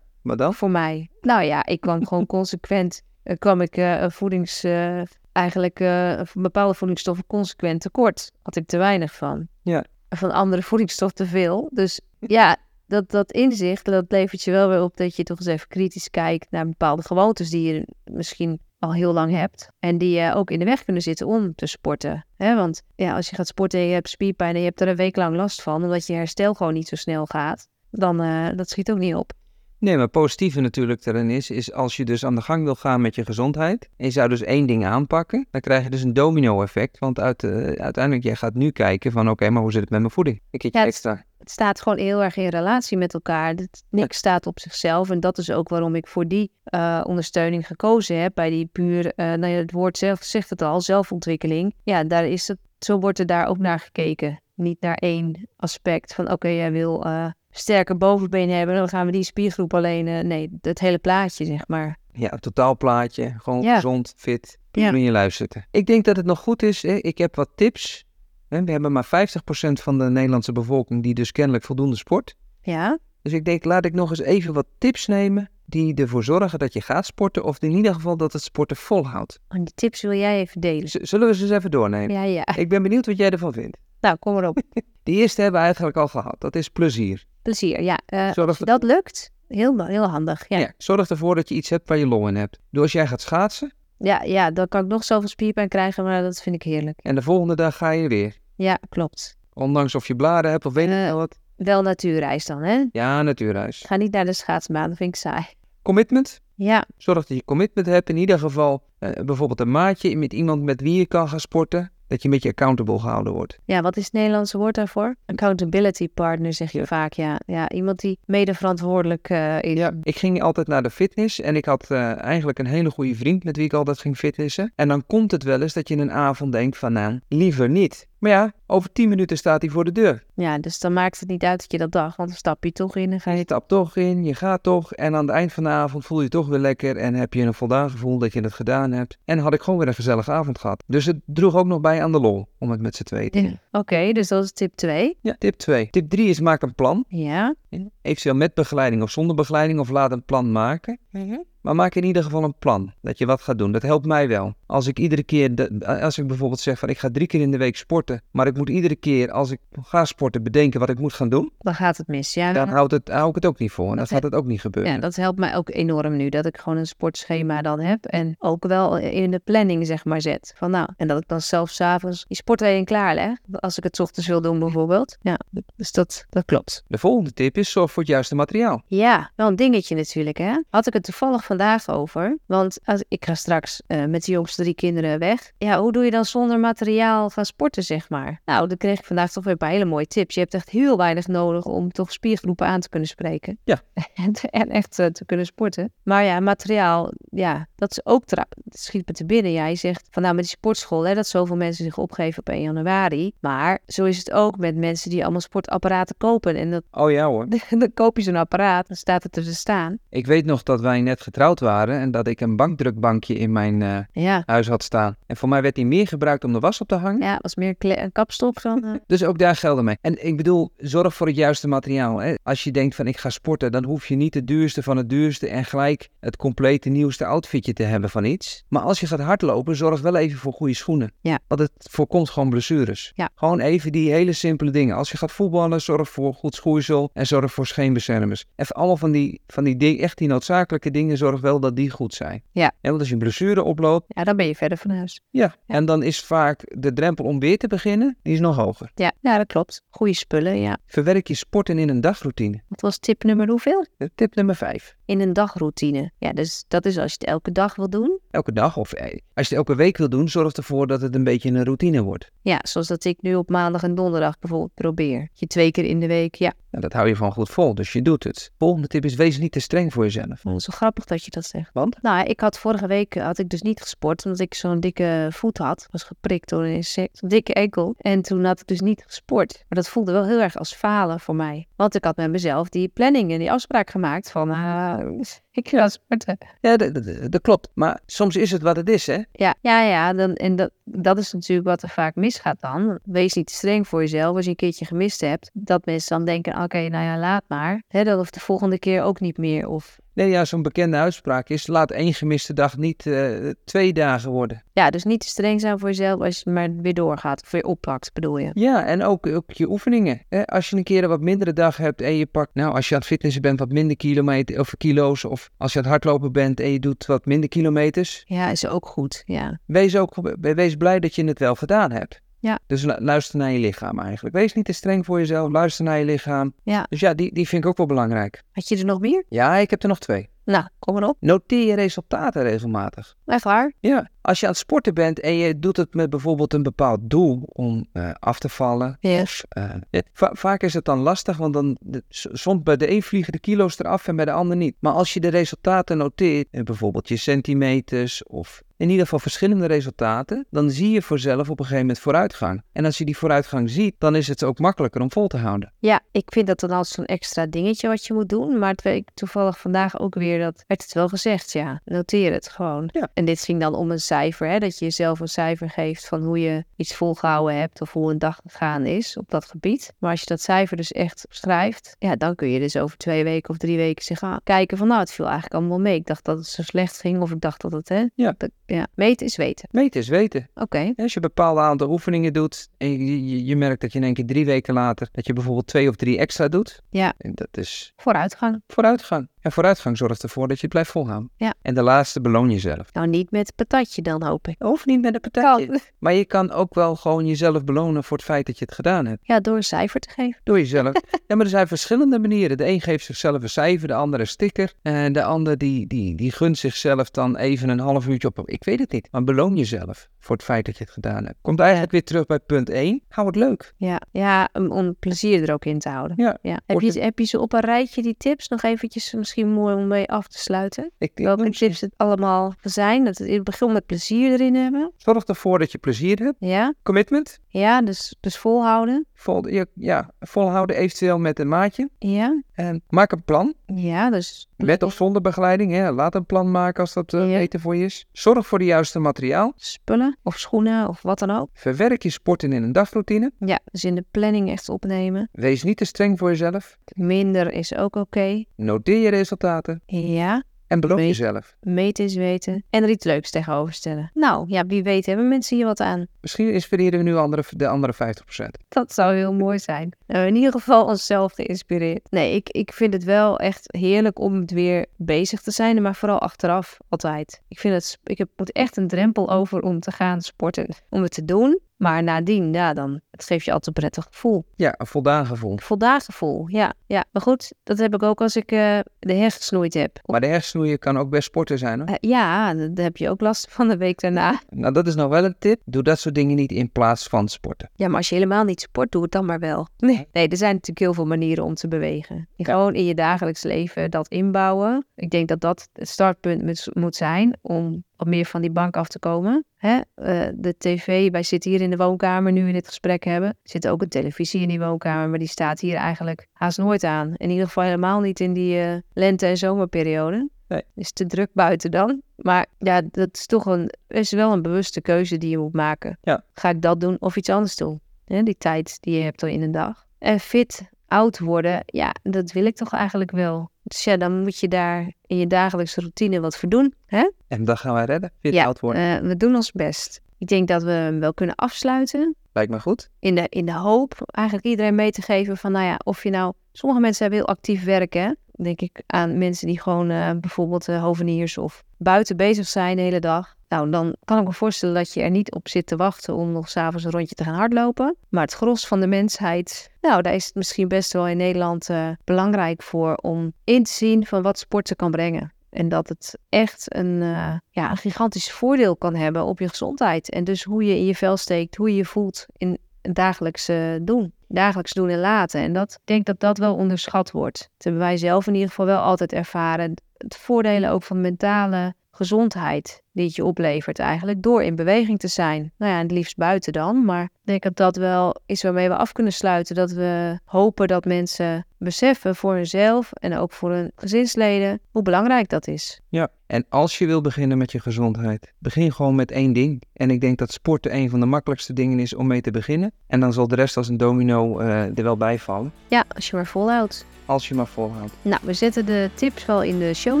Speaker 1: maar dan?
Speaker 2: voor mij. Nou ja, ik kwam gewoon consequent, eh, kwam ik eh, een voedings, eh, eigenlijk eh, bepaalde voedingsstoffen consequent tekort. Had ik te weinig van.
Speaker 1: Ja.
Speaker 2: En Van andere voedingsstoffen te veel. Dus ja, dat, dat inzicht, dat levert je wel weer op dat je toch eens even kritisch kijkt naar bepaalde gewoontes die je misschien al heel lang hebt. En die je ook in de weg kunnen zitten om te sporten. hè? want ja, als je gaat sporten en je hebt spierpijn en je hebt er een week lang last van, omdat je herstel gewoon niet zo snel gaat, dan eh, dat schiet ook niet op.
Speaker 1: Nee, maar positieve natuurlijk daarin is, is als je dus aan de gang wil gaan met je gezondheid en je zou dus één ding aanpakken, dan krijg je dus een domino effect, want uit, eh, uiteindelijk jij gaat nu kijken van oké, maar hoe zit het met mijn voeding? Ik eet
Speaker 2: Ja, het-
Speaker 1: extra.
Speaker 2: het staat gewoon heel erg in relatie met elkaar. Dat, niks staat op zichzelf. En dat is ook waarom ik voor die eh, ondersteuning gekozen heb. Bij die puur, eh, nou ja, het woord zelf zegt het al, zelfontwikkeling. Ja, daar is het, zo wordt er daar ook naar gekeken. Niet naar één aspect van oké, jij wil eh sterker bovenbeen hebben. Dan gaan we die spiergroep alleen. eh, nee, het hele plaatje zeg maar.
Speaker 1: Ja, een totaalplaatje, gewoon
Speaker 2: Ja.
Speaker 1: gezond, fit,
Speaker 2: Ja.
Speaker 1: prima je luisteren. Ik denk dat het nog goed is, hè? ik heb wat tips. hè. We hebben maar 50% van de Nederlandse bevolking die dus kennelijk voldoende sport.
Speaker 2: Ja,
Speaker 1: Dus ik denk, laat ik nog eens even wat tips nemen die ervoor zorgen dat je gaat sporten of in ieder geval dat het sporten volhoudt.
Speaker 2: en die tips wil jij even delen.
Speaker 1: Z- zullen we ze eens even doornemen?
Speaker 2: Ja, ja.
Speaker 1: Ik ben benieuwd wat jij ervan vindt.
Speaker 2: Nou, kom maar op.
Speaker 1: De eerste hebben we eigenlijk al gehad. Dat is plezier.
Speaker 2: Plezier. Ja, eh,
Speaker 1: Zorg
Speaker 2: als je dat lukt, heel, heel handig. Ja.
Speaker 1: Ja, zorg ervoor dat je iets hebt waar je long in hebt. Dus als jij gaat schaatsen
Speaker 2: Ja, ja, dan kan ik nog zoveel spierpijn krijgen, maar dat vind ik heerlijk.
Speaker 1: en de volgende dag ga je weer.
Speaker 2: Ja, klopt.
Speaker 1: Ondanks of je bladen hebt of weet ik
Speaker 2: Eh.
Speaker 1: veel wat.
Speaker 2: Wel natuurreis dan, hè?
Speaker 1: Ja, natuurhuis.
Speaker 2: Ga niet naar de schaatsbaan, dat vind ik saai.
Speaker 1: Commitment.
Speaker 2: Ja,
Speaker 1: Zorg dat je commitment hebt. In ieder geval eh, bijvoorbeeld een maatje met iemand met wie je kan gaan sporten. Dat je een beetje accountable gehouden wordt.
Speaker 2: Ja, wat is het Nederlandse woord daarvoor? Accountability partner zeg je
Speaker 1: Ja.
Speaker 2: vaak, ja. Ja, iemand die mede verantwoordelijk eh, is.
Speaker 1: Ja, ik ging altijd naar de fitness en ik had eh, eigenlijk een hele goede vriend met wie ik altijd ging fitnessen. En dan komt het wel eens dat je in een avond denkt van nou, liever niet. Maar ja, over 10 minuten staat hij voor de deur.
Speaker 2: Ja, dus dan maakt het niet uit dat je dat dacht, want dan stap je toch in en ga
Speaker 1: En
Speaker 2: je...
Speaker 1: je tapt toch in, je gaat toch. En aan het eind van de avond voel je je toch weer lekker en heb je een voldaan gevoel dat je het gedaan hebt. En had ik gewoon weer een gezellige avond gehad. Dus het droeg ook nog bij aan de lol om het met z'n tweeën te
Speaker 2: Ja.
Speaker 1: doen.
Speaker 2: Oké, dus dat is tip 2.
Speaker 1: Ja, tip 2. Tip 3 is maak een plan.
Speaker 2: Ja.
Speaker 1: Eventueel met begeleiding of zonder begeleiding of laat een plan maken.
Speaker 2: Mhm.
Speaker 1: Maar maak in ieder geval een plan dat je wat gaat doen. Dat helpt mij wel. Als ik iedere keer, de- als ik bijvoorbeeld zeg van ik ga drie keer in de week sporten, maar ik moet iedere keer als ik ga sporten bedenken wat ik moet gaan doen,
Speaker 2: Dan gaat het mis. Ja,
Speaker 1: dan houdt het, hou ik het ook niet vol en dan
Speaker 2: Dat-
Speaker 1: gaat het ook niet gebeuren.
Speaker 2: ja, dat helpt mij ook enorm nu, dat ik gewoon een sportschema dan heb. En ook wel in de planning, zeg maar, zet. Van nou, en dat ik dan zelf s'avonds die sportwegen klaarleg. Als ik het 's ochtends wil doen, bijvoorbeeld. Ja, dus dat, dat klopt.
Speaker 1: De volgende tip is zorg voor het juiste materiaal.
Speaker 2: Ja, wel een dingetje natuurlijk, hè? Had ik het toevallig vandaag over. Want als, ik ga straks eh, met de jongste drie kinderen weg. Ja, hoe doe je dan zonder materiaal gaan sporten, zeg maar? Nou, dan kreeg ik vandaag toch weer een paar hele mooie tips. Je hebt echt heel weinig nodig om toch spiergroepen aan te kunnen spreken.
Speaker 1: Ja.
Speaker 2: En, en echt eh, te kunnen sporten. Maar ja, materiaal, ja, dat is ook trouw. Het schiet me te binnen. Ja, je zegt van nou met die sportschool, hè, dat zoveel mensen zich opgeven op 1 januari. Maar zo is het ook met mensen die allemaal sportapparaten kopen. En dat
Speaker 1: Oh ja hoor.
Speaker 2: dan koop je zo'n apparaat, dan staat het er te staan.
Speaker 1: Ik weet nog dat wij net getrouwd waren en dat ik een bankdrukbankje in mijn eh,
Speaker 2: Ja,
Speaker 1: huis had staan. En voor mij werd die meer gebruikt om de was op te hangen.
Speaker 2: ja was meer kle- een kapstok dan. eh,
Speaker 1: Dus ook daar gelden mee. En ik bedoel, zorg voor het juiste materiaal. Hè? Als je denkt van ik ga sporten, dan hoef je niet het duurste van het duurste en gelijk het complete nieuwste outfitje te hebben van iets. Maar als je gaat hardlopen, zorg wel even voor goede schoenen.
Speaker 2: Ja.
Speaker 1: Want het voorkomt gewoon blessures.
Speaker 2: Ja.
Speaker 1: Gewoon even die hele simpele dingen. Als je gaat voetballen, zorg voor goed schoeisel en zorg voor scheenbeschermers. Even allemaal van die, van die ding, echt die noodzakelijke dingen, zorg wel dat die goed zijn.
Speaker 2: Ja.
Speaker 1: En want als je een blessure oploopt,
Speaker 2: ja, dan ben je verder van huis.
Speaker 1: ja. En dan is vaak de drempel om weer te beginnen, die is nog hoger.
Speaker 2: Ja, ja dat klopt. Goede spullen, ja.
Speaker 1: Verwerk je sporten in een dagroutine.
Speaker 2: Wat was tip nummer hoeveel?
Speaker 1: Tip nummer 5.
Speaker 2: In een dagroutine. Ja, dus dat is als je het elke dag wil doen.
Speaker 1: Elke dag of eh, als je het elke week wil doen, zorg ervoor dat het een beetje een routine wordt.
Speaker 2: Ja, zoals dat ik nu op maandag en donderdag bijvoorbeeld probeer. Je twee keer in de week, ja.
Speaker 1: Nou, dat hou je gewoon goed vol, dus je doet het. Volgende tip is, wees niet te streng voor jezelf.
Speaker 2: Dat is wel grappig dat je dat zegt.
Speaker 1: Want?
Speaker 2: Nou, ik had vorige week eh, had ik dus niet gesport, omdat ik zo'n dikke voet had. Was geprikt door een insect, een dikke enkel. En toen had ik dus niet gesport. Maar dat voelde wel heel erg als falen voor mij. Want ik had met mezelf die planning en die afspraak gemaakt van, ah, ik ga sporten.
Speaker 1: Ja, dat, dat- dat klopt. Maar soms is het wat het is, hè?
Speaker 2: Ja, ja, ja. Dan, en dat, dat is natuurlijk wat er vaak misgaat dan. Wees niet te streng voor jezelf als je een keertje gemist hebt. Dat mensen dan denken, oké, nou ja, laat maar. Hè, dat hoeft de volgende keer ook niet meer. Of
Speaker 1: Nee, ja, zo'n bekende uitspraak is, laat één gemiste dag niet eh, twee dagen worden.
Speaker 2: Ja, dus niet te streng zijn voor jezelf als je maar weer doorgaat of weer oppakt, bedoel je.
Speaker 1: Ja, en ook, ook je oefeningen. Hè? Als je een keer een wat mindere dag hebt en je pakt, nou, als je aan het fitnessen bent, wat minder kilometer of kilo's. Of als je aan het hardlopen bent en je doet wat minder kilometers.
Speaker 2: Ja, is ook goed. Ja,
Speaker 1: wees ook wees blij dat je het wel gedaan hebt.
Speaker 2: Ja.
Speaker 1: Dus lu- luister naar je lichaam eigenlijk. Wees niet te streng voor jezelf. Luister naar je lichaam.
Speaker 2: Ja.
Speaker 1: Dus ja, die, die vind ik ook wel belangrijk.
Speaker 2: had je er nog meer?
Speaker 1: Ja, ik heb er nog twee.
Speaker 2: Nou, kom maar op.
Speaker 1: Noteer je resultaten regelmatig.
Speaker 2: Echt waar?
Speaker 1: Ja, als je aan het sporten bent en je doet het met bijvoorbeeld een bepaald doel om eh, af te vallen.
Speaker 2: Yes.
Speaker 1: eh, va- vaak is het dan lastig, want dan de- s- soms bij de een vliegen de kilo's eraf en bij de ander niet. Maar als je de resultaten noteert, eh, bijvoorbeeld je centimeters of in ieder geval verschillende resultaten, dan zie je voorzelf op een gegeven moment vooruitgang. En als je die vooruitgang ziet, dan is het ook makkelijker om vol te houden.
Speaker 2: Ja, ik vind dat dan altijd zo'n extra dingetje wat je moet doen. Maar het weet ik toevallig vandaag ook weer, dat werd het wel gezegd, ja. Noteer het gewoon.
Speaker 1: Ja.
Speaker 2: En dit ging dan om een cijfer, hè. Dat je jezelf een cijfer geeft van hoe je iets volgehouden hebt of hoe een dag gegaan is op dat gebied. Maar als je dat cijfer dus echt schrijft, ja, dan kun je dus over twee weken of drie weken zeggen, ah, kijken van nou, het viel eigenlijk allemaal mee. Ik dacht dat het zo slecht ging of ik dacht dat het, hè.
Speaker 1: Ja.
Speaker 2: Dat- ja. Meten is weten.
Speaker 1: Meten is weten.
Speaker 2: Oké.
Speaker 1: Als je een bepaald aantal oefeningen doet en je, je, je merkt dat je in één keer drie weken later, dat je bijvoorbeeld twee of drie extra doet.
Speaker 2: Ja.
Speaker 1: En dat is
Speaker 2: Vooruitgang.
Speaker 1: vooruitgang. En vooruitgang zorgt ervoor dat je het blijft volhouden.
Speaker 2: Ja.
Speaker 1: En de laatste beloon jezelf.
Speaker 2: Nou, niet met patatje dan, hoop ik.
Speaker 1: Hoeft niet met een partij. Maar je kan ook wel gewoon jezelf belonen voor het feit dat je het gedaan hebt.
Speaker 2: Ja, door een cijfer te geven.
Speaker 1: Door jezelf. ja, maar er zijn verschillende manieren. De een geeft zichzelf een cijfer, de ander een sticker. En de ander die, die, die gunt zichzelf dan even een half uurtje op. Ik weet het niet. Maar beloon jezelf voor het feit dat je het gedaan hebt. Komt eigenlijk weer terug bij punt 1. Hou het leuk.
Speaker 2: Ja, ja om, om plezier er ook in te houden.
Speaker 1: Ja.
Speaker 2: Heb,
Speaker 1: Wordt
Speaker 2: je, heb je ze op een rijtje, die tips? Nog eventjes misschien mooi om mee af te sluiten.
Speaker 1: Ik, ik
Speaker 2: Welke
Speaker 1: noem ze-
Speaker 2: tips het allemaal zijn. Dat het in het begin met plezier erin hebben.
Speaker 1: Zorg ervoor dat je plezier hebt.
Speaker 2: Ja,
Speaker 1: Commitment.
Speaker 2: ja dus, dus volhouden.
Speaker 1: Vol, ja, ja, volhouden eventueel met een maatje.
Speaker 2: Ja,
Speaker 1: En maak een plan.
Speaker 2: ja, dus...
Speaker 1: Met of zonder begeleiding. Hè. Laat een plan maken als dat eh,
Speaker 2: Ja.
Speaker 1: beter voor je is. Zorg voor de juiste materiaal.
Speaker 2: Spullen of schoenen of wat dan ook.
Speaker 1: Verwerk je sporten in een dagroutine.
Speaker 2: Ja, dus in de planning echt opnemen.
Speaker 1: Wees niet te streng voor jezelf.
Speaker 2: Minder is ook oké.
Speaker 1: Noteer je resultaten.
Speaker 2: Ja,
Speaker 1: En beloon
Speaker 2: Weet-
Speaker 1: jezelf.
Speaker 2: meten is weten. En er iets leuks tegenover stellen. Nou, ja, wie weet hebben mensen hier wat aan.
Speaker 1: Misschien inspireren we nu andere, de andere 50%.
Speaker 2: Dat zou heel mooi zijn. Nou, in ieder geval onszelf geïnspireerd. Nee, ik, ik vind het wel echt heerlijk om het weer bezig te zijn. Maar vooral achteraf altijd. Ik, vind het, ik heb, moet echt een drempel over om te gaan sporten. Om het te doen. Maar nadien, ja, dan, het geeft je altijd een prettig gevoel.
Speaker 1: Ja, een voldaan gevoel.
Speaker 2: Een voldaan gevoel, ja, ja. Maar goed, dat heb ik ook als ik eh, de hersens snoeid heb. Of-
Speaker 1: Maar de hersensnoeien kan ook bij sporten zijn hoor.
Speaker 2: eh, ja, dan dan heb je ook last van de week daarna.
Speaker 1: Nou, dat is nog wel een tip. Doe dat soort dingen niet in plaats van sporten.
Speaker 2: Ja, maar als je helemaal niet sport, doe het dan maar wel. Nee, nee er zijn natuurlijk heel veel manieren om te bewegen. Je Gewoon in je dagelijks leven dat inbouwen. Ik denk dat dat het startpunt moet- moet zijn om wat meer van die bank af te komen. Hè? Eh, de tv, wij zitten hier in de woonkamer nu in dit gesprek hebben. Er zit ook een televisie in die woonkamer, maar die staat hier eigenlijk haast nooit aan. In ieder geval helemaal niet in die eh, lente- en zomerperiode.
Speaker 1: Nee.
Speaker 2: Is te druk buiten dan. Maar ja, dat is toch een, is wel een bewuste keuze die je moet maken.
Speaker 1: Ja.
Speaker 2: Ga ik dat doen of iets anders doen? Hè, die tijd die je hebt al in een dag. En fit, oud worden, ja, dat wil ik toch eigenlijk wel. Dus ja, dan moet je daar in je dagelijkse routine wat voor doen. Hè?
Speaker 1: En dat gaan wij redden. Fit
Speaker 2: Ja,
Speaker 1: oud worden.
Speaker 2: Eh, we doen ons best. Ik denk dat we hem wel kunnen afsluiten
Speaker 1: Lijkt me goed.
Speaker 2: in de, in de hoop eigenlijk iedereen mee te geven van, nou ja, of je nou... Sommige mensen hebben heel actief werken, hè. denk ik aan mensen die gewoon eh, bijvoorbeeld eh, hoveniers of buiten bezig zijn de hele dag. Nou, dan kan ik me voorstellen dat je er niet op zit te wachten om nog s'avonds een rondje te gaan hardlopen. Maar het gros van de mensheid, nou, daar is het misschien best wel in Nederland eh, belangrijk voor om in te zien van wat sporten kan brengen. En dat het echt een, eh, ja, een gigantisch voordeel kan hebben op je gezondheid. En dus hoe je in je vel steekt, hoe je je voelt in, dagelijks eh, doen. Dagelijks doen en laten. En dat, ik denk dat dat wel onderschat wordt. Dat hebben wij zelf in ieder geval wel altijd ervaren. Het voordelen ook van mentale gezondheid die het je oplevert eigenlijk. Door in beweging te zijn. Nou ja, en het liefst buiten dan. Maar ik denk dat dat wel is waarmee we af kunnen sluiten. Dat we hopen dat mensen beseffen voor hunzelf en ook voor hun gezinsleden hoe belangrijk dat is.
Speaker 1: Ja. En als je wil beginnen met je gezondheid, begin gewoon met één ding. En ik denk dat sporten een van de makkelijkste dingen is om mee te beginnen. En dan zal de rest als een domino eh, er wel bij vallen.
Speaker 2: Ja, als je maar volhoudt.
Speaker 1: Als je maar volhoudt.
Speaker 2: Nou, we zetten de tips wel in de show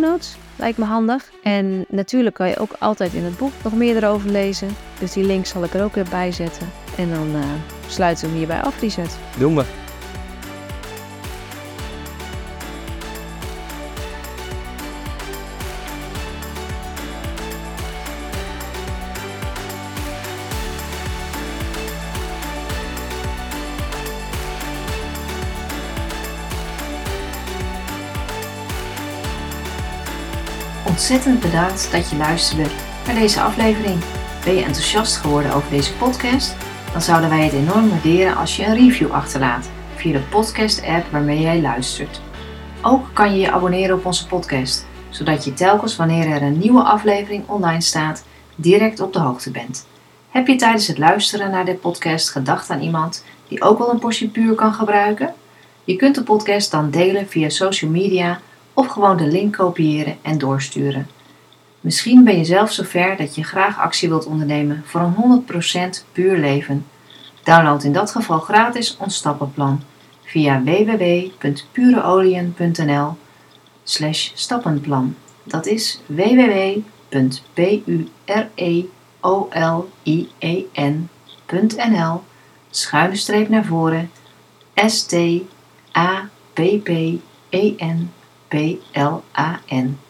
Speaker 2: notes. Lijkt me handig. En natuurlijk kan je ook altijd in het boek nog meer erover lezen. Dus die link zal ik er ook weer bij zetten. En dan eh, sluiten we hem hierbij af, Richard.
Speaker 1: Doen we.
Speaker 3: Ontzettend bedankt dat je luisterde naar deze aflevering. Ben je enthousiast geworden over deze podcast? Dan zouden wij het enorm waarderen als je een review achterlaat via de podcast-app waarmee jij luistert. Ook kan je je abonneren op onze podcast, zodat je telkens wanneer er een nieuwe aflevering online staat, direct op de hoogte bent. Heb je tijdens het luisteren naar dit podcast gedacht aan iemand die ook wel een portie puur kan gebruiken? Je kunt de podcast dan delen via social media of gewoon de link kopiëren en doorsturen. Misschien ben je zelf zover dat je graag actie wilt ondernemen voor een 100% puur leven. Download in dat geval gratis ons stappenplan via www.pureolien.nl slash stappenplan. Dat is www.pureolien.nl schuine streep naar voren s t a p p e n P-L-A-N.